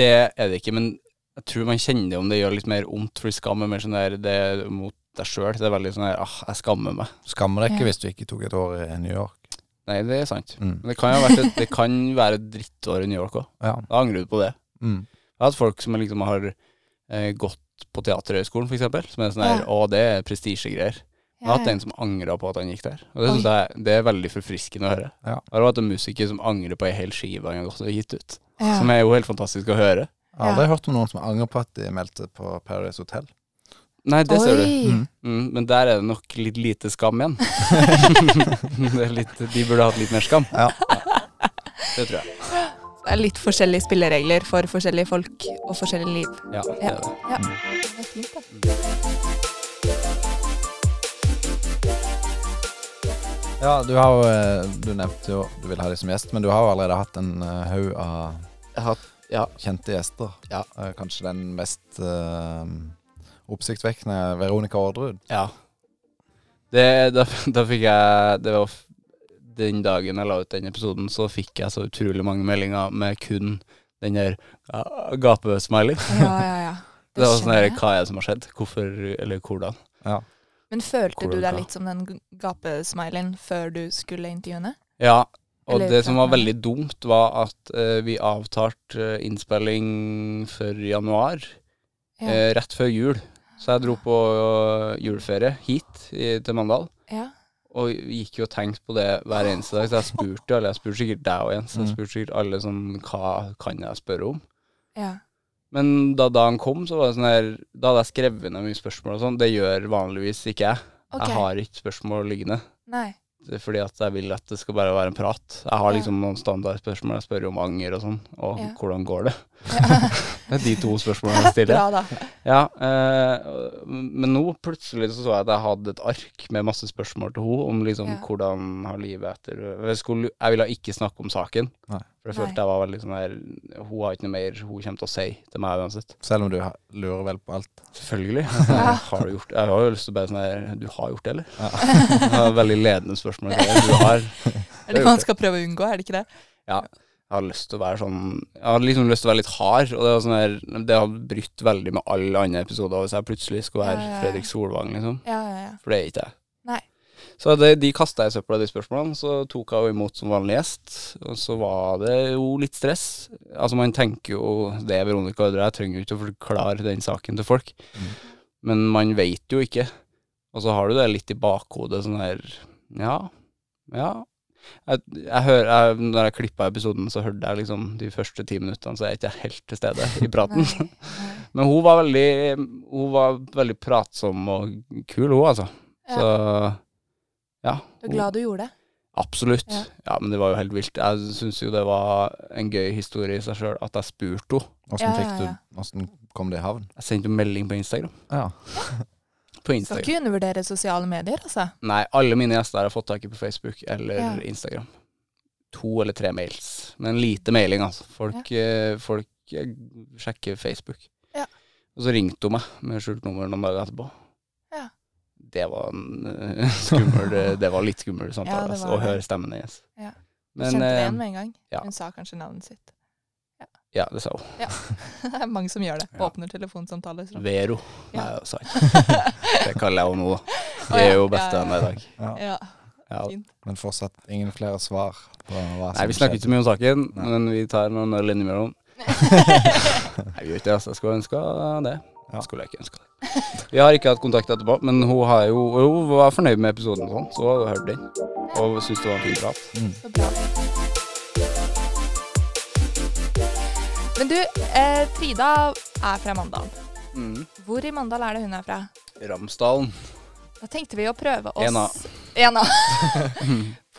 Speaker 1: det er det ikke, men jeg tror man kjenner det om det gjør litt mer vondt, fordi skam er mer sånn der det er mot deg sjøl. Det er veldig sånn der ah, jeg skammer meg.
Speaker 3: Du skammer deg
Speaker 2: Ja.
Speaker 3: ikke hvis du ikke tok et år i New York.
Speaker 1: Nei, det er sant.
Speaker 3: Mm.
Speaker 1: Men det kan jo være et, det kan være et drittår i New York òg.
Speaker 3: Ja.
Speaker 1: Da angrer du på det.
Speaker 3: Mm.
Speaker 1: Jeg har hatt folk som liksom har eh, gått på Teaterhøgskolen, for eksempel, som er sånn her
Speaker 2: Ja.
Speaker 1: Å, det er prestisjegreier. Jeg har hatt en som angra på at han gikk der. Og Det, synes jeg, det er veldig forfriskende å høre.
Speaker 3: Ja.
Speaker 1: Jeg har hatt en musiker som angrer på ei hel skive han har gått og gitt ut.
Speaker 2: Ja.
Speaker 1: Som er jo helt fantastisk å høre.
Speaker 3: Jeg har aldri hørt om noen som angrer på at de meldte på Paradise Hotel.
Speaker 1: Nei, det ser du.
Speaker 2: Oi.
Speaker 1: Mm, men der er det nok litt lite skam igjen. det er litt, de burde hatt litt mer skam.
Speaker 3: Ja.
Speaker 1: Det tror jeg.
Speaker 2: Det er litt forskjellige spilleregler for forskjellige folk og forskjellige liv.
Speaker 1: Ja, Mm. det er det.
Speaker 2: Ja. Det er fint, da.
Speaker 3: Ja, du har jo eh, Du nevnte jo du vil ha dem som gjest, men du har jo allerede hatt en eh, haug av
Speaker 1: Jeg har hatt- ja.
Speaker 3: kjente gjester.
Speaker 1: Ja.
Speaker 3: Eh, Kanskje den mest eh, oppsiktsvekkende er Veronica Aardrud.
Speaker 1: ja. Det, da, da fikk jeg Det var f- den dagen jeg la ut den episoden, så fikk jeg så utrolig mange meldinger med kun den der ja, gapesmiley.
Speaker 2: Ja, ja, ja.
Speaker 1: Det var sånn
Speaker 2: skjønner
Speaker 1: der
Speaker 2: jeg.
Speaker 1: Hva er det som har skjedd? Hvorfor? Eller hvordan?
Speaker 2: Men følte du
Speaker 1: Hvordan
Speaker 2: deg
Speaker 1: da?
Speaker 2: litt som den g- gapesmileyen før du skulle intervjue henne?
Speaker 1: Ja, og
Speaker 2: Eller
Speaker 1: det som var
Speaker 2: planen.
Speaker 1: veldig dumt, var at eh, vi avtalte eh, innspilling for januar,
Speaker 2: Ja.
Speaker 1: eh, rett før jul. Så jeg dro på eh, juleferie hit i, til Mandal,
Speaker 2: ja.
Speaker 1: og gikk jo og tenkte på det hver eneste dag. Så jeg spurte jo alle, jeg spurte sikkert deg og Jens, jeg spurte sikkert alle sånn Hva kan jeg spørre om?
Speaker 2: ja.
Speaker 1: Men da dagen kom, så var det sånn her Da hadde jeg skrevet ned mye spørsmål og sånn. Det gjør vanligvis ikke jeg.
Speaker 2: Ok.
Speaker 1: Jeg har ikke spørsmål liggende.
Speaker 2: Nei.
Speaker 1: Det er fordi at jeg vil at det skal bare være en prat. Jeg har
Speaker 2: Ja.
Speaker 1: liksom noen standardspørsmål. Jeg spør jo om anger og sånn, og
Speaker 2: Ja.
Speaker 1: hvordan går det?
Speaker 2: Ja.
Speaker 1: Det er de to spørsmålene jeg stiller.
Speaker 2: Bra, da.
Speaker 1: Ja, eh, men nå plutselig så så jeg at jeg hadde et ark med masse spørsmål til henne om liksom
Speaker 2: Ja.
Speaker 1: hvordan har livet etter Jeg, skulle, jeg ville ikke snakke om saken,
Speaker 3: Nei.
Speaker 1: for jeg
Speaker 2: Nei.
Speaker 1: følte jeg var veldig sånn her Hun har ikke noe mer hun kommer til å si til meg uansett.
Speaker 3: Selv om du ha- lurer vel på alt.
Speaker 1: Selvfølgelig. Har du gjort Jeg har jo lyst til å bare sånn her Du har gjort det, eller? Det var et veldig ledende spørsmål. Du har
Speaker 2: Er det
Speaker 1: gjort
Speaker 2: hva man
Speaker 1: det.
Speaker 2: skal prøve å unngå, er det ikke det?
Speaker 1: jeg har lyst til å være sånn Jeg har liksom lyst til å være litt hard, og det, var sånn her, det har brytt veldig med alle andre episoder hvis jeg plutselig skulle være
Speaker 2: Ja, ja, ja.
Speaker 1: Fredrik Solvang, liksom.
Speaker 2: Ja, ja, ja.
Speaker 1: For det er ikke jeg.
Speaker 2: Nei.
Speaker 1: Så det, de kasta jeg i søpla, de spørsmålene. Så tok jeg jo imot som vanlig gjest. Og så var det jo litt stress. Altså, man tenker jo det, er Veronica Ordre, jeg trenger jo ikke å forklare den saken til folk. Men man veit jo ikke. Og så har du det litt i bakhodet, sånn her Ja, ja. Jeg, jeg hører, jeg, når jeg klippa episoden, så hørte jeg liksom de første ti minuttene, så er jeg ikke helt til stede i praten.
Speaker 2: Nei. Nei.
Speaker 1: Men hun var veldig Hun var veldig pratsom og kul, hun, altså.
Speaker 2: Ja.
Speaker 1: Så ja.
Speaker 2: Du er glad du gjorde det?
Speaker 1: Absolutt.
Speaker 2: Ja.
Speaker 1: Ja. men det var jo helt vilt. Jeg syns jo det var en gøy historie i seg sjøl at jeg spurte henne.
Speaker 3: Åssen
Speaker 2: Ja,
Speaker 3: fikk
Speaker 2: ja,
Speaker 3: du
Speaker 2: ja.
Speaker 3: Åssen kom det i havn?
Speaker 1: Jeg sendte jo melding på Instagram.
Speaker 3: Ja.
Speaker 1: På
Speaker 2: Skal
Speaker 1: Instagram.
Speaker 2: ikke undervurdere sosiale medier, altså.
Speaker 1: Nei, alle mine gjester har jeg fått tak i på Facebook eller
Speaker 2: Ja.
Speaker 1: Instagram. To eller tre mails. Men lite mailing, altså. Folk, eh, folk eh, sjekker Facebook.
Speaker 2: Ja.
Speaker 1: Og så ringte hun meg med skjult nummer noen dager etterpå.
Speaker 2: Ja.
Speaker 1: Det var en eh, skummel Det var litt skummel
Speaker 2: Ja,
Speaker 1: samtale,
Speaker 2: det
Speaker 1: altså,
Speaker 2: var
Speaker 1: å
Speaker 2: det.
Speaker 1: høre stemmen hennes.
Speaker 2: Ja. Du
Speaker 1: Men
Speaker 2: kjente det
Speaker 1: eh,
Speaker 2: igjen med en gang.
Speaker 1: ja.
Speaker 2: Hun sa kanskje navnet sitt.
Speaker 1: Ja, det sa hun.
Speaker 2: Det er mange som gjør det.
Speaker 1: Ja.
Speaker 2: Åpner telefonsamtaler. sånn.
Speaker 1: Vero.
Speaker 2: Ja.
Speaker 1: Nei, det sa jeg ikke. Det kaller jeg henne nå, da. Vi er jo bestevenner i dag.
Speaker 2: Ja.
Speaker 1: Ja.
Speaker 3: Men fortsatt ingen flere svar på hva som
Speaker 1: Nei, vi snakker ikke så mye om saken,
Speaker 3: Nei.
Speaker 1: men vi tar noen øl innimellom. Nei, vi gjør ikke det, altså. Jeg skulle ønska det.
Speaker 3: Ja.
Speaker 1: Skulle jeg ikke ønska det. Vi har ikke hatt kontakt etterpå, men hun, har jo, hun var fornøyd med episoden og sånn, så hun har hørt den. Og syntes det var en fin prat.
Speaker 2: Så bra. Men du, eh, Frida er fra Mandal. Hvor i Mandal er det hun er fra?
Speaker 1: Ramsdalen.
Speaker 2: Da tenkte vi å prøve oss
Speaker 1: En av.
Speaker 2: En av.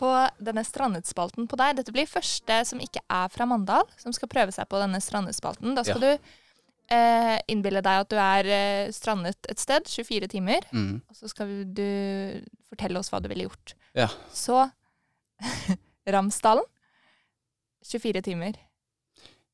Speaker 2: på denne strandutspalten på deg. Dette blir første som ikke er fra Mandal, som skal prøve seg på denne strandutspalten. Da skal du eh, innbille deg at du er eh, strandet et sted, 24 timer,
Speaker 1: Mm.
Speaker 2: og så skal du fortelle oss hva du ville gjort.
Speaker 1: Ja.
Speaker 2: Så Ramsdalen, 24 timer.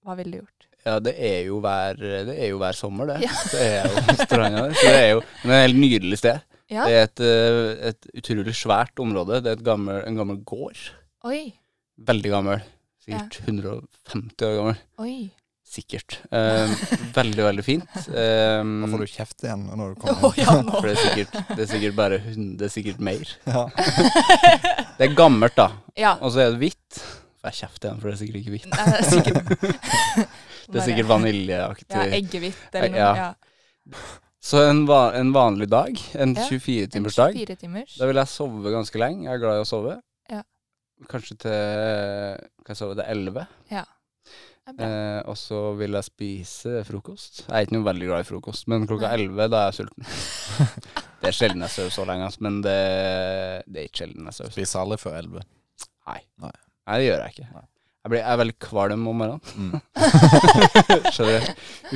Speaker 2: Hva ville du gjort?
Speaker 1: Ja, det er jo hver, det er jo hver sommer, det.
Speaker 2: Ja.
Speaker 1: Det er jo stranda der. Så det er jo men det er et helt nydelig sted.
Speaker 2: Ja,
Speaker 1: Det er et, eh, et utrolig svært område. Det er et gammel, en gammel gård.
Speaker 2: oi,
Speaker 1: Veldig gammel. Sikkert 150 år gammel.
Speaker 2: oi.
Speaker 1: Sikkert. Eh, veldig, veldig fint. Eh,
Speaker 3: Nå får du kjeft igjen når du
Speaker 2: Å,
Speaker 3: kommer
Speaker 2: ja,
Speaker 3: hjem.
Speaker 2: nå.
Speaker 1: for det er sikkert, det er sikkert bare hun- Det er sikkert mer.
Speaker 3: Ja.
Speaker 1: Det er gammelt, da.
Speaker 2: Ja,
Speaker 1: Og så er det hvitt. Får jeg kjeft igjen, for det er sikkert ikke hvitt.
Speaker 2: det er sikkert
Speaker 1: Det er
Speaker 2: Bare-
Speaker 1: sikkert vaniljeaktig.
Speaker 2: Ja, eggehvitt eller noe.
Speaker 1: Ja.
Speaker 2: Ja.
Speaker 1: Så en, va en vanlig dag, en
Speaker 2: Ja, en
Speaker 1: 24-timersdag,
Speaker 2: 24 timers.
Speaker 1: da vil jeg sove ganske lenge. Jeg er glad i å sove.
Speaker 2: Ja.
Speaker 1: Kanskje til Kan jeg sove til 11?
Speaker 2: Det er bra.
Speaker 1: Eh, og så vil jeg spise frokost. Jeg er ikke noe veldig glad i frokost, men klokka 11 da er jeg sulten. Det er sjelden jeg sover så lenge, ass, men det, det er ikke sjelden jeg sover. så-
Speaker 3: Spiser aldri før elleve.
Speaker 1: Nei, det gjør jeg ikke. Jeg, blir, jeg er veldig kvalm om morgenen.
Speaker 3: Mm.
Speaker 1: Skjønner du?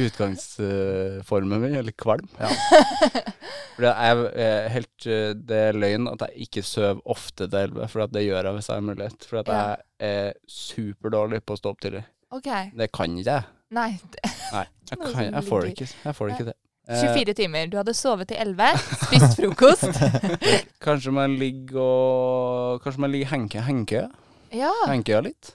Speaker 1: Utgangsformen min er litt kvalm. Fordi jeg er helt eh, Det er løgn at jeg ikke sover ofte til elleve, for at det gjør jeg hvis jeg har mulighet. For at
Speaker 2: Ja.
Speaker 1: jeg er superdårlig på å stå opp tidlig.
Speaker 2: OK.
Speaker 1: Det kan ikke jeg.
Speaker 2: Nei. det-
Speaker 1: Nei, jeg, kan, jeg får det ikke. Jeg får det ikke til. Eh,
Speaker 2: 24 timer. Du hadde sovet til 11, spist frokost.
Speaker 1: Eh, Kanskje man ligger og Kanskje man ligger i henke, henke,
Speaker 2: Ja.
Speaker 1: henkøya litt.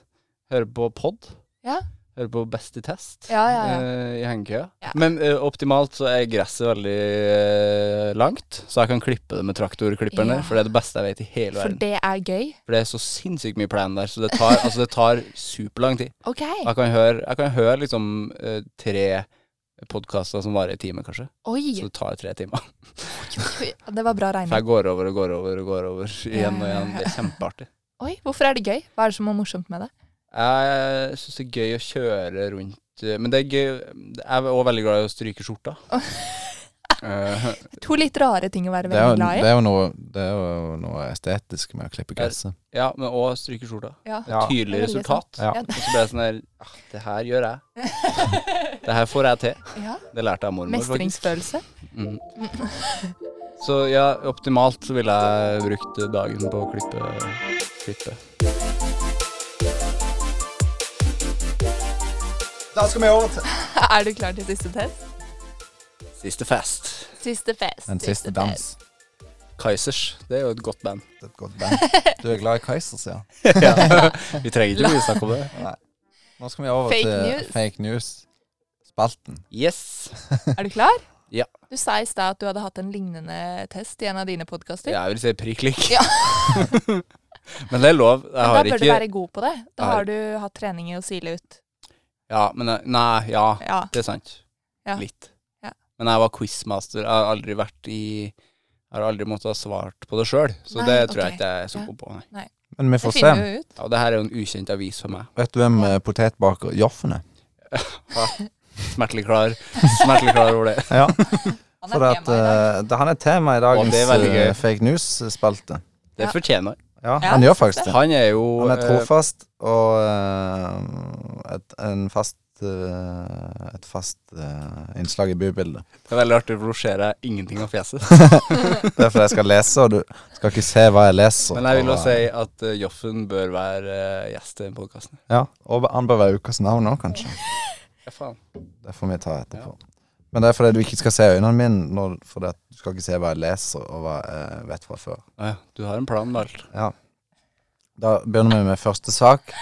Speaker 1: Hører på pod.
Speaker 2: Ja.
Speaker 1: Hører på Best i test
Speaker 2: Ja, ja, ja.
Speaker 1: eh, i hengekøya.
Speaker 2: Ja.
Speaker 1: Men eh, optimalt så er gresset veldig eh, langt, så jeg kan klippe det med traktorklipperen
Speaker 2: Ja.
Speaker 1: der, for det er det beste jeg vet i hele
Speaker 2: For
Speaker 1: verden.
Speaker 2: det er gøy.
Speaker 1: For det er så sinnssykt mye plan der, så det tar, altså, det tar superlang tid.
Speaker 2: OK.
Speaker 1: Jeg kan høre, jeg kan høre liksom eh, tre podkaster som varer i time, kanskje. Så
Speaker 2: Oi.
Speaker 1: det tar tre timer.
Speaker 2: Det var bra
Speaker 1: For
Speaker 2: regna.
Speaker 1: jeg går over og går over og går over igjen og igjen. Det er kjempeartig.
Speaker 2: Oi, hvorfor er det gøy? Hva er det som er morsomt med det?
Speaker 1: Jeg syns det er gøy å kjøre rundt eh, Men det er gøy Jeg er òg veldig glad i å stryke skjorta. Eh,
Speaker 2: To litt rare ting å være
Speaker 3: Det er, jo,
Speaker 2: veldig glad
Speaker 3: det,
Speaker 2: i.
Speaker 3: er jo noe, det er jo noe estetisk med å klippe gresset.
Speaker 1: ja, men òg stryke skjorta.
Speaker 2: Ja.
Speaker 1: Et tydelig
Speaker 2: Det er veldig
Speaker 1: resultat.
Speaker 2: sant. Ja.
Speaker 1: Og så ble jeg sånn her ah, Det her gjør jeg. Det her får jeg til.
Speaker 2: Ja.
Speaker 1: Det lærte jeg av mormor, faktisk.
Speaker 2: Mestringsfølelse.
Speaker 1: Mm. Så ja, optimalt så ville jeg brukt dagen på å klippe. klippe.
Speaker 3: Da skal vi over til
Speaker 2: Er du klar til siste test?
Speaker 1: Siste fest.
Speaker 2: Siste fest.
Speaker 3: Den siste dans.
Speaker 1: Kaizers. Det er jo et godt band.
Speaker 3: Det er et godt band. Du er glad i Kaizers, ja.
Speaker 1: Ja. Vi trenger ikke mye snakk om det.
Speaker 3: Nå skal vi over
Speaker 2: Fake
Speaker 3: til
Speaker 2: news.
Speaker 3: fake news-spalten.
Speaker 1: Yes.
Speaker 2: Er du klar?
Speaker 1: Ja.
Speaker 2: Du sa i stad at du hadde hatt en lignende test i en av dine podkaster.
Speaker 1: Ja, jeg vil si prikk lik.
Speaker 2: Ja.
Speaker 1: men det er lov. Jeg
Speaker 2: Da
Speaker 1: har
Speaker 2: bør
Speaker 1: ikke
Speaker 2: du være god på det. Da
Speaker 1: Har-
Speaker 2: har du hatt trening i å sile ut.
Speaker 1: Ja, men jeg- Nei, ja,
Speaker 2: Ja.
Speaker 1: det er sant.
Speaker 2: Ja.
Speaker 1: Litt.
Speaker 2: Ja.
Speaker 1: Men jeg var quizmaster. Jeg har aldri vært i Jeg har aldri måttet ha svart på det sjøl, så
Speaker 2: Nei,
Speaker 1: det tror
Speaker 2: ok.
Speaker 1: jeg ikke jeg er så
Speaker 2: Ja.
Speaker 1: god på. Nei.
Speaker 3: Men vi
Speaker 2: Det
Speaker 3: får se.
Speaker 2: finner vi jo ut.
Speaker 1: Ja, og det her er jo en ukjent avis for meg.
Speaker 3: Vet du hvem eh, potetbaker Joffen er?
Speaker 1: Smertelig klar. Smertelig klar over det.
Speaker 3: Ja,
Speaker 2: Han
Speaker 3: for det
Speaker 2: er
Speaker 3: at,
Speaker 2: tema i dag.
Speaker 3: eh, det, han er tema i dagens
Speaker 1: det er veldig
Speaker 3: eh,
Speaker 1: gøy.
Speaker 3: fake news-spalte.
Speaker 1: Det
Speaker 2: Ja.
Speaker 1: fortjener han.
Speaker 3: Ja,
Speaker 2: Ja,
Speaker 3: han gjør faktisk det.
Speaker 1: Han er jo
Speaker 3: Han er
Speaker 1: eh,
Speaker 3: trofast og eh, et, en fast eh, et fast eh, innslag i bybildet.
Speaker 1: Det er veldig artig, for nå ser jeg ingenting av fjeset.
Speaker 3: Det er fordi jeg skal lese, og du skal ikke se hva jeg leser.
Speaker 1: Men jeg vil
Speaker 3: og,
Speaker 1: også si at eh, Joffen bør være eh, gjest i den podkasten.
Speaker 3: Ja, og han bør være ukas navn òg, kanskje.
Speaker 1: Ja, faen.
Speaker 3: Det får vi ta etterpå. Men det er fordi du ikke skal se øynene mine, når, fordi at du skal ikke se hva jeg leser og hva jeg vet fra før.
Speaker 1: Å ja, du har en plan med alt.
Speaker 3: Ja. Da begynner vi med første sak,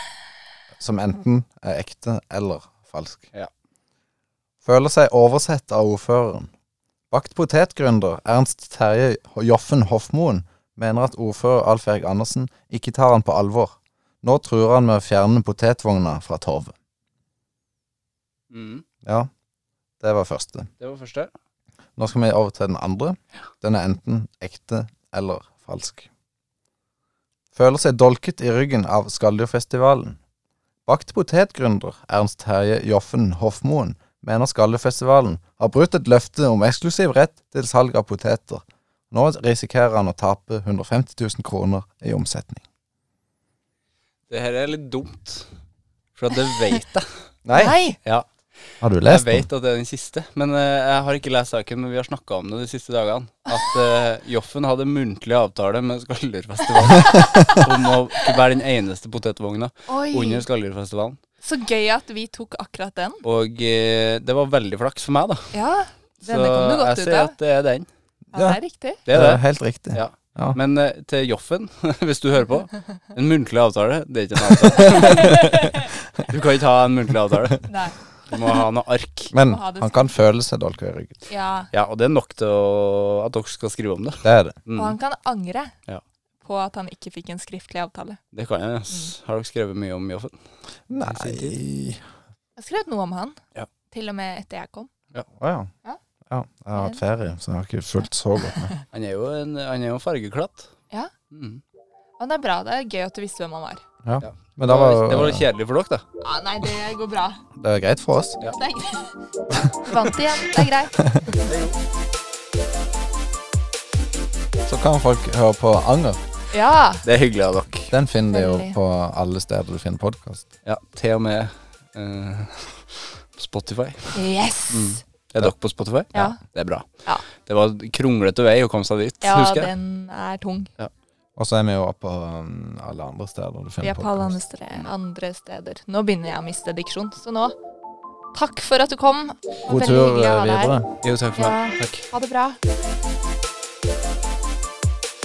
Speaker 3: som enten er ekte eller falsk.
Speaker 1: Ja.
Speaker 3: Føler seg oversett av ordføreren. Bakt potetgründer Ernst Terje Joffen Hofmoen mener at ordfører Alf Erik Andersen ikke tar han på alvor. Nå truer han med å fjerne potetvogna fra torvet.
Speaker 1: Mm.
Speaker 3: Ja, det var første.
Speaker 1: Det var første.
Speaker 3: Nå skal vi over til den andre. Den er enten ekte eller falsk. Føler seg dolket i ryggen av Skalldyrfestivalen. Bakt potetgründer Ernst Terje Joffen Hofmoen mener Skalldyrfestivalen har brutt et løfte om eksklusiv rett til salg av poteter. Nå risikerer han å tape 150 000 kroner i omsetning.
Speaker 1: Det her er litt dumt, for at det vet jeg.
Speaker 3: eh,
Speaker 2: Nei!
Speaker 1: Ja,
Speaker 3: Har du
Speaker 1: jeg
Speaker 3: lest den?
Speaker 1: vet at det er den siste, men eh, jeg har ikke lest saken. Men vi har snakka om det de siste dagene. At eh, Joffen hadde muntlig avtale med Skalldyrfestivalen om å kunne være den eneste potetvogna
Speaker 2: Oi,
Speaker 1: under Skalldyrfestivalen.
Speaker 2: så gøy at vi tok akkurat den.
Speaker 1: Og eh, det var veldig flaks for meg, da.
Speaker 2: Ja,
Speaker 1: Så
Speaker 2: denne kom du
Speaker 1: jeg
Speaker 2: godt ut
Speaker 1: sier
Speaker 2: av.
Speaker 1: at det er den.
Speaker 2: Ja, det er riktig.
Speaker 1: Det er
Speaker 3: Det
Speaker 1: det.
Speaker 3: er helt riktig.
Speaker 1: Ja.
Speaker 3: Ja.
Speaker 1: Men eh, til Joffen, hvis du hører på, en muntlig avtale, det er ikke en avtale. Du kan ikke ha en muntlig avtale.
Speaker 2: Nei.
Speaker 1: Du må ha noe ark.
Speaker 3: Men
Speaker 2: Må ha det
Speaker 3: han kan føle seg dolket i ryggen.
Speaker 2: Ja.
Speaker 1: Ja, og det er nok til å, at dere skal skrive om det.
Speaker 3: Det er det.
Speaker 1: Mm.
Speaker 2: Og han kan angre
Speaker 1: Ja.
Speaker 2: på at han ikke fikk en skriftlig avtale.
Speaker 1: Det kan jeg.
Speaker 2: Mm.
Speaker 1: ass. Har dere skrevet mye om Joffen? sin
Speaker 3: Nei
Speaker 2: Jeg skrev noe om han,
Speaker 1: Ja.
Speaker 2: til og med etter jeg kom.
Speaker 3: Å ja.
Speaker 2: Ja.
Speaker 3: Ja, jeg har hatt ferie, så jeg har ikke fulgt så godt med.
Speaker 1: Han er jo en, han er jo en fargeklatt.
Speaker 2: Ja.
Speaker 1: Mm.
Speaker 2: Men det er bra. Det er gøy at du visste hvem han var.
Speaker 3: Men
Speaker 1: Det
Speaker 3: det
Speaker 1: var, det var litt
Speaker 3: var,
Speaker 1: kjedelig for dere, da.
Speaker 2: Ja, nei, det går bra.
Speaker 3: det er greit for oss.
Speaker 2: Det er greit. Vant igjen. Det er greit.
Speaker 3: så kan folk høre på Anger.
Speaker 2: Ja.
Speaker 1: Det er hyggelig av dere.
Speaker 3: Den finner de jo
Speaker 2: Veldig.
Speaker 3: på alle steder du finner podkast.
Speaker 1: Ja, til og med eh, Spotify.
Speaker 2: Yes.
Speaker 3: Mm.
Speaker 1: Er dere på Spotify?
Speaker 2: Ja.
Speaker 1: Det er bra.
Speaker 2: Ja.
Speaker 1: Det var kronglete vei å komme seg dit,
Speaker 2: Ja,
Speaker 1: husker jeg.
Speaker 2: den er tung.
Speaker 3: Og så er vi jo på um, alle andre steder du
Speaker 2: Vi
Speaker 3: finner
Speaker 2: er på alle andre
Speaker 3: podkast.
Speaker 2: steder, andre steder. Nå begynner jeg å miste diksjon, så nå Takk for at du kom.
Speaker 3: God
Speaker 2: Veldig
Speaker 3: tur
Speaker 2: hyggelig å
Speaker 3: eh,
Speaker 2: ha deg her.
Speaker 3: videre.
Speaker 1: Jo, takk for meg. Takk.
Speaker 2: Ha det bra.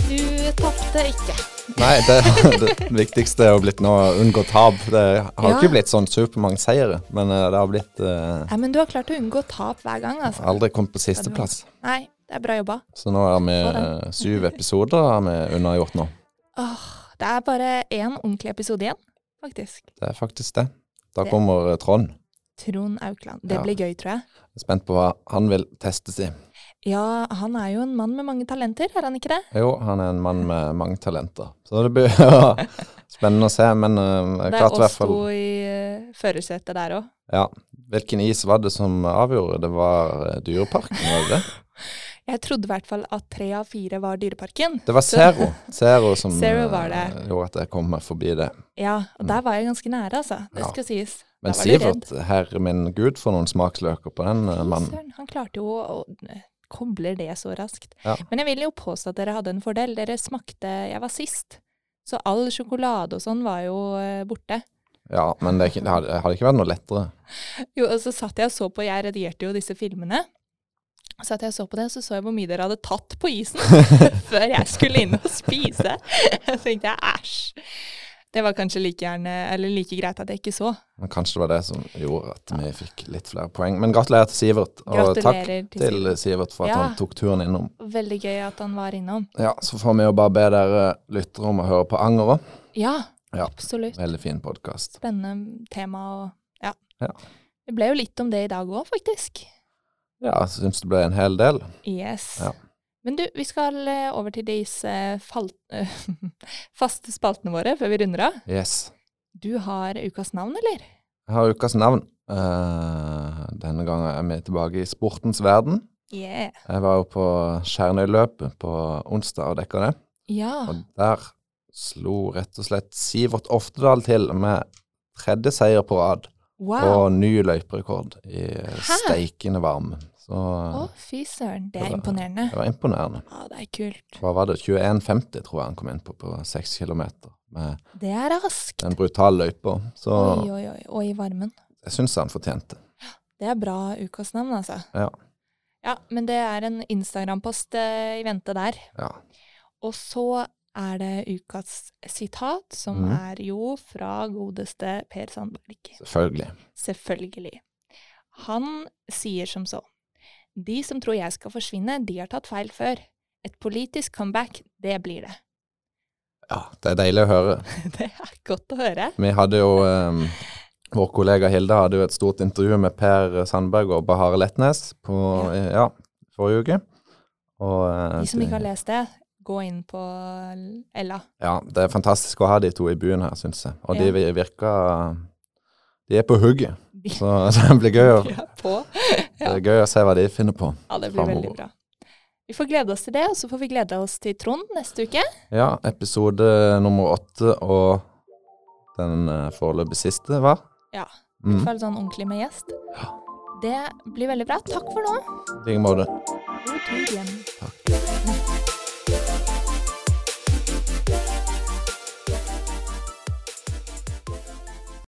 Speaker 2: Du tapte ikke.
Speaker 3: Nei, det, det viktigste er jo blitt nå å unngå tap. Det har
Speaker 2: Ja.
Speaker 3: ikke blitt sånn supermange seire, men eh, det har blitt eh,
Speaker 2: Nei, men du har klart å unngå tap hver gang, altså.
Speaker 3: aldri kommet på sisteplass.
Speaker 2: Nei, det er bra jobba.
Speaker 3: Så nå er vi
Speaker 2: Få den.
Speaker 3: eh, syv episoder har vi unnagjort nå.
Speaker 2: Åh, det er bare én ordentlig episode igjen, faktisk.
Speaker 3: Det er faktisk det. Da
Speaker 2: Det-
Speaker 3: kommer eh, Trond.
Speaker 2: Trond Aukland. Det
Speaker 3: Ja.
Speaker 2: blir gøy, tror jeg.
Speaker 3: Jeg er Spent på hva han vil teste si.
Speaker 2: Ja, han er jo en mann med mange talenter, er han ikke det?
Speaker 3: Jo, han er en mann med mange talenter. Så det blir spennende å se, men eh,
Speaker 2: Det er
Speaker 3: klart i
Speaker 2: oss
Speaker 3: hvert fall
Speaker 2: to i eh, førersetet der òg.
Speaker 3: ja. Hvilken is var det som avgjorde? Det var eh, Dyreparken, var det det?
Speaker 2: Jeg trodde i hvert fall at tre av fire var Dyreparken.
Speaker 3: Det var Zero. Zero som
Speaker 2: Zero var det.
Speaker 3: eh, gjorde at jeg kom meg forbi det.
Speaker 2: Ja, og der var jeg ganske nære, altså. Det
Speaker 3: Mm. Ja.
Speaker 2: skal sies.
Speaker 3: Men
Speaker 2: Da var du
Speaker 3: Sivert, herre min gud, for noen smaksløker på den eh,
Speaker 2: Fy
Speaker 3: mannen.
Speaker 2: søren, han klarte jo å å- kobler det så raskt.
Speaker 3: Ja.
Speaker 2: Men jeg vil jo påstå at dere hadde en fordel. Dere smakte Jeg var sist. Så all sjokolade og sånn var jo eh, borte.
Speaker 3: Ja, men det, er ikke- det hadde, det hadde ikke vært noe lettere.
Speaker 2: Jo, og så satt jeg og så på Jeg redigerte jo disse filmene. Så satt jeg og så på det, så så jeg hvor mye dere hadde tatt på isen før jeg skulle inn og spise. Så tenkte jeg æsj. Det var kanskje like, gjerne, eller like greit at jeg ikke så.
Speaker 3: Men kanskje det var det som gjorde at vi fikk litt flere poeng. Men gratulerer til Sivert, og takk
Speaker 2: Gratulerer til
Speaker 3: til
Speaker 2: Sivert.
Speaker 3: Sivert for at
Speaker 2: Ja.
Speaker 3: han tok turen innom.
Speaker 2: Veldig gøy at han var innom.
Speaker 3: Ja, så får vi jo bare be dere eh, lyttere om å høre på Anger òg.
Speaker 2: Ja,
Speaker 3: Ja.
Speaker 2: absolutt.
Speaker 3: Veldig fin podkast.
Speaker 2: Spennende tema og ja.
Speaker 3: Ja.
Speaker 2: Det ble jo litt om det i dag òg, faktisk.
Speaker 3: Ja, jeg syns det ble en hel del.
Speaker 2: Yes.
Speaker 3: Ja.
Speaker 2: Men du, vi skal eh, over til disse fal faste spaltene våre før vi runder av.
Speaker 3: Yes.
Speaker 2: Du har ukas navn, eller?
Speaker 3: Jeg har ukas navn. Eh, denne gangen er vi tilbake i sportens verden.
Speaker 2: Yeah.
Speaker 3: Jeg var jo på Skjernøyløpet på onsdag og dekka det.
Speaker 2: Ja.
Speaker 3: Og der slo rett og slett Sivert Oftedal til med tredje seier på rad
Speaker 2: Wow. Å,
Speaker 3: og ny løyperekord i steikende varme. Så
Speaker 2: fy søren. Det
Speaker 3: Det
Speaker 2: er
Speaker 3: var-
Speaker 2: imponerende.
Speaker 3: det var imponerende.
Speaker 2: Ja, det er kult.
Speaker 3: Hva var det? 21,50 tror jeg han kom inn på på seks kilometer med
Speaker 2: Det er raskt.
Speaker 3: den brutale løypa. Så
Speaker 2: Oi, oi, oi. Og i varmen.
Speaker 3: jeg syns han fortjente.
Speaker 2: Det er bra ukas navn, altså.
Speaker 3: Ja.
Speaker 2: Ja, men det er en Instagram-post eh, i vente der.
Speaker 3: Ja.
Speaker 2: Og så er det ukas sitat, som
Speaker 3: Mhm.
Speaker 2: er jo fra godeste Per Sandberg.
Speaker 3: Selvfølgelig.
Speaker 2: Selvfølgelig. Han sier som så. De som tror jeg skal forsvinne, de har tatt feil før. Et politisk comeback, det blir det.
Speaker 3: Ja, det er deilig å høre.
Speaker 2: Det er godt å høre.
Speaker 3: Vi hadde jo eh, Vår kollega Hilde hadde jo et stort intervju med Per Sandberg og Bahare Letnes på, eh, ja. forrige uke. Og, eh,
Speaker 2: De som ikke har
Speaker 3: det-
Speaker 2: lest det, gå inn på Ella.
Speaker 3: Ja, det er fantastisk å ha de to i byen her, syns jeg. Og
Speaker 2: Ja.
Speaker 3: de virker De er på hugget,
Speaker 2: De
Speaker 3: så det blir gøy, å-
Speaker 2: er på.
Speaker 3: det er gøy å se hva de finner på.
Speaker 2: Ja, det blir veldig
Speaker 3: Fremover.
Speaker 2: bra. Vi får glede oss til det, og så får vi glede oss til Trond neste uke.
Speaker 3: Ja, episode nummer åtte og den eh, foreløpig siste, hva?
Speaker 2: Ja. I
Speaker 3: Mm,
Speaker 2: hvert fall sånn ordentlig med gjest. Det blir veldig bra. Takk for nå.
Speaker 3: I like måte.
Speaker 2: God tur hjem.
Speaker 3: Takk.